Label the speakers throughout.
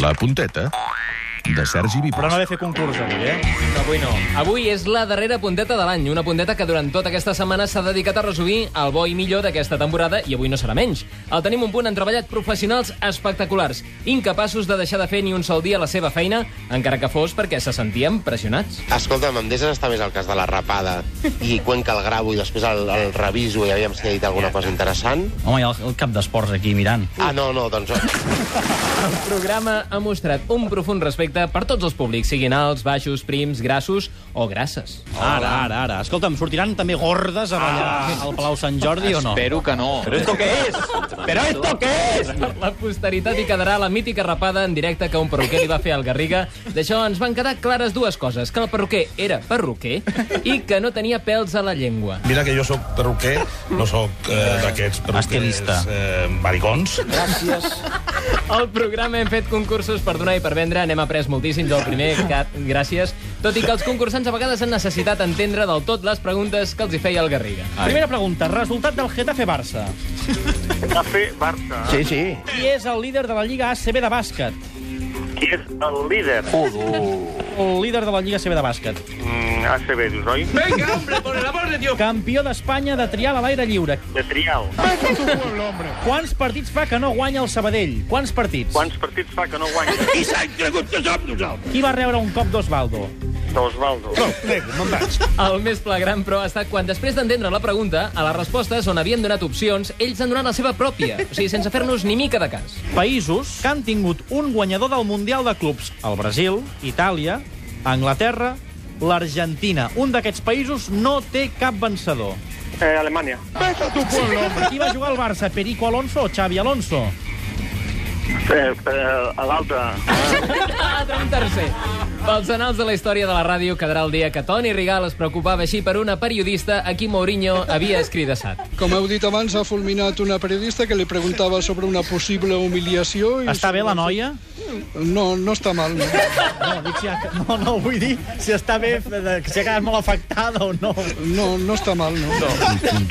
Speaker 1: La punteta de Sergi
Speaker 2: Però
Speaker 1: Vives.
Speaker 2: no he de fer concurs avui, eh?
Speaker 3: Avui no. Avui és la darrera punteta de l'any, una punteta que durant tota aquesta setmana s'ha dedicat a resumir el bo i millor d'aquesta temporada i avui no serà menys. El tenim un punt han treballat professionals espectaculars, incapaços de deixar de fer ni un sol dia la seva feina, encara que fos perquè se sentien pressionats.
Speaker 4: Escolta'm, amb Deses està més el cas de la rapada i quan que el gravo i després el, el reviso i aviam si he dit alguna cosa interessant.
Speaker 5: Home, hi ha el, el cap d'esports aquí mirant.
Speaker 4: Ah, no, no, doncs...
Speaker 3: El programa ha mostrat un profund respecte per tots els públics, siguin alts, baixos, prims, grassos o grasses.
Speaker 5: Ara, ara, ara. Escolta'm, sortiran també gordes a ballar al Palau Sant Jordi o no?
Speaker 6: Espero que no.
Speaker 3: Per la posteritat hi quedarà la mítica rapada en directe que un perruquer li va fer al Garriga. D'això ens van quedar clares dues coses, que el perruquer era perruquer i que no tenia pèls a la llengua.
Speaker 7: Mira que jo sóc perruquer, no sóc eh, d'aquests perruquers
Speaker 5: Estilista.
Speaker 7: eh, baricons.
Speaker 3: Al programa hem fet concursos per donar i per vendre, n'hem après moltíssim del primer, que... gràcies, tot i que els concursants a vegades han necessitat entendre del tot les preguntes que els hi feia el Garriga.
Speaker 5: Primera pregunta. Resultat del Getafe-Barça.
Speaker 8: Va fer Barça.
Speaker 4: Sí, sí.
Speaker 5: Qui és el líder de la Lliga ACB de bàsquet?
Speaker 8: Qui és el líder?
Speaker 5: El líder de la Lliga ACB de bàsquet.
Speaker 8: Mm, ACB, dius, oi?
Speaker 5: Campió d'Espanya de trial a l'aire lliure.
Speaker 8: De trial.
Speaker 5: Quants partits fa que no guanya el Sabadell? Quants partits?
Speaker 8: Quants partits fa que no guanya?
Speaker 5: Qui va rebre un cop d'Osvaldo?
Speaker 8: D'Osvaldo.
Speaker 3: El més flagrant, però, ha estat quan, després d'entendre la pregunta, a les respostes on havien donat opcions, ells han donat la seva pròpia, o sigui, sense fer-nos ni mica de cas.
Speaker 5: Països que han tingut un guanyador del Mundial de Clubs. El Brasil, Itàlia, Anglaterra, l'Argentina. Un d'aquests països no té cap vencedor.
Speaker 8: Eh, Alemanya.
Speaker 5: Qui va jugar al Barça, Perico Alonso o Xavi Alonso?
Speaker 8: Eh, eh, a l'altre.
Speaker 3: Altre, Ah, un tercer. Pels anals de la història de la ràdio quedarà el dia que Toni Rigal es preocupava així per una periodista a qui Mourinho havia escridassat.
Speaker 9: Com heu dit abans, ha fulminat una periodista que li preguntava sobre una possible humiliació... I
Speaker 5: Està bé la noia?
Speaker 9: No, no està mal. No.
Speaker 5: No, dic si ha... no, no, vull dir si està bé, de- si ha quedat molt afectada o no.
Speaker 9: No, no està mal, no. no.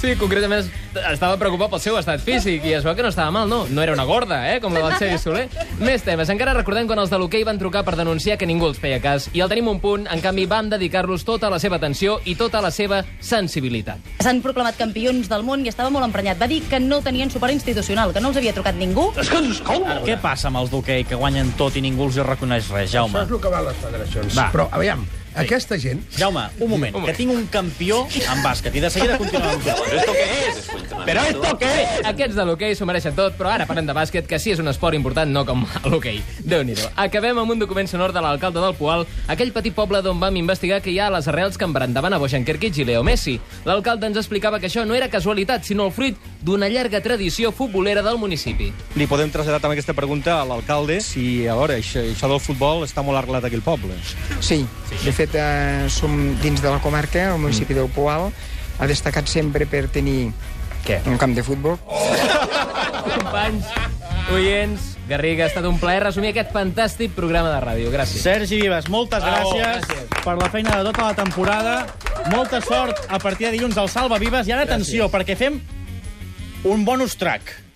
Speaker 3: Sí, concretament estava preocupat pel seu estat físic i es veu que no estava mal, no. No era una gorda, eh, com la del Xavi Soler. Més temes. Encara recordem quan els de l'hoquei van trucar per denunciar que ningú els feia cas i el tenim un punt, en canvi vam dedicar-los tota la seva atenció i tota la seva sensibilitat.
Speaker 10: S'han proclamat campions del món i estava molt emprenyat. Va dir que no tenien suport institucional, que no els havia trucat ningú.
Speaker 5: Què passa amb els d'hoquei que guanyen tot i ningú els hi reconeix res, Jaume?
Speaker 11: és el que van les federacions.
Speaker 5: Va.
Speaker 11: Però, aviam, aquesta gent...
Speaker 5: Jaume, un moment, que tinc un campió en bàsquet i de seguida continuem amb tu. Però esto què és? Però esto què és?
Speaker 3: Aquests de l'hoquei s'ho mereixen tot, però ara parlem de bàsquet, que sí és un esport important, no com l'hoquei. déu nhi Acabem amb un document sonor de l'alcalde del Poal, aquell petit poble d'on vam investigar que hi ha les arrels que embrandaven a Bojan Kerkic i Leo Messi. L'alcalde ens explicava que això no era casualitat, sinó el fruit d'una llarga tradició futbolera del municipi.
Speaker 2: Li podem traslladar també aquesta pregunta a l'alcalde si, a veure, això, això del futbol està molt arrelat aquí al poble.
Speaker 11: Sí, de fet, eh, som dins de la comarca, el municipi del Poal, ha destacat sempre per tenir
Speaker 5: Què?
Speaker 11: un camp de futbol.
Speaker 3: Companys, oients, Garriga, ha estat un plaer resumir aquest fantàstic programa de ràdio. Gràcies.
Speaker 5: Sergi Vives, moltes
Speaker 3: Bravo,
Speaker 5: gràcies,
Speaker 3: gràcies.
Speaker 5: per la feina de tota la temporada. Molta sort a partir de dilluns al Salva Vives. I ara atenció, perquè fem un bonus track.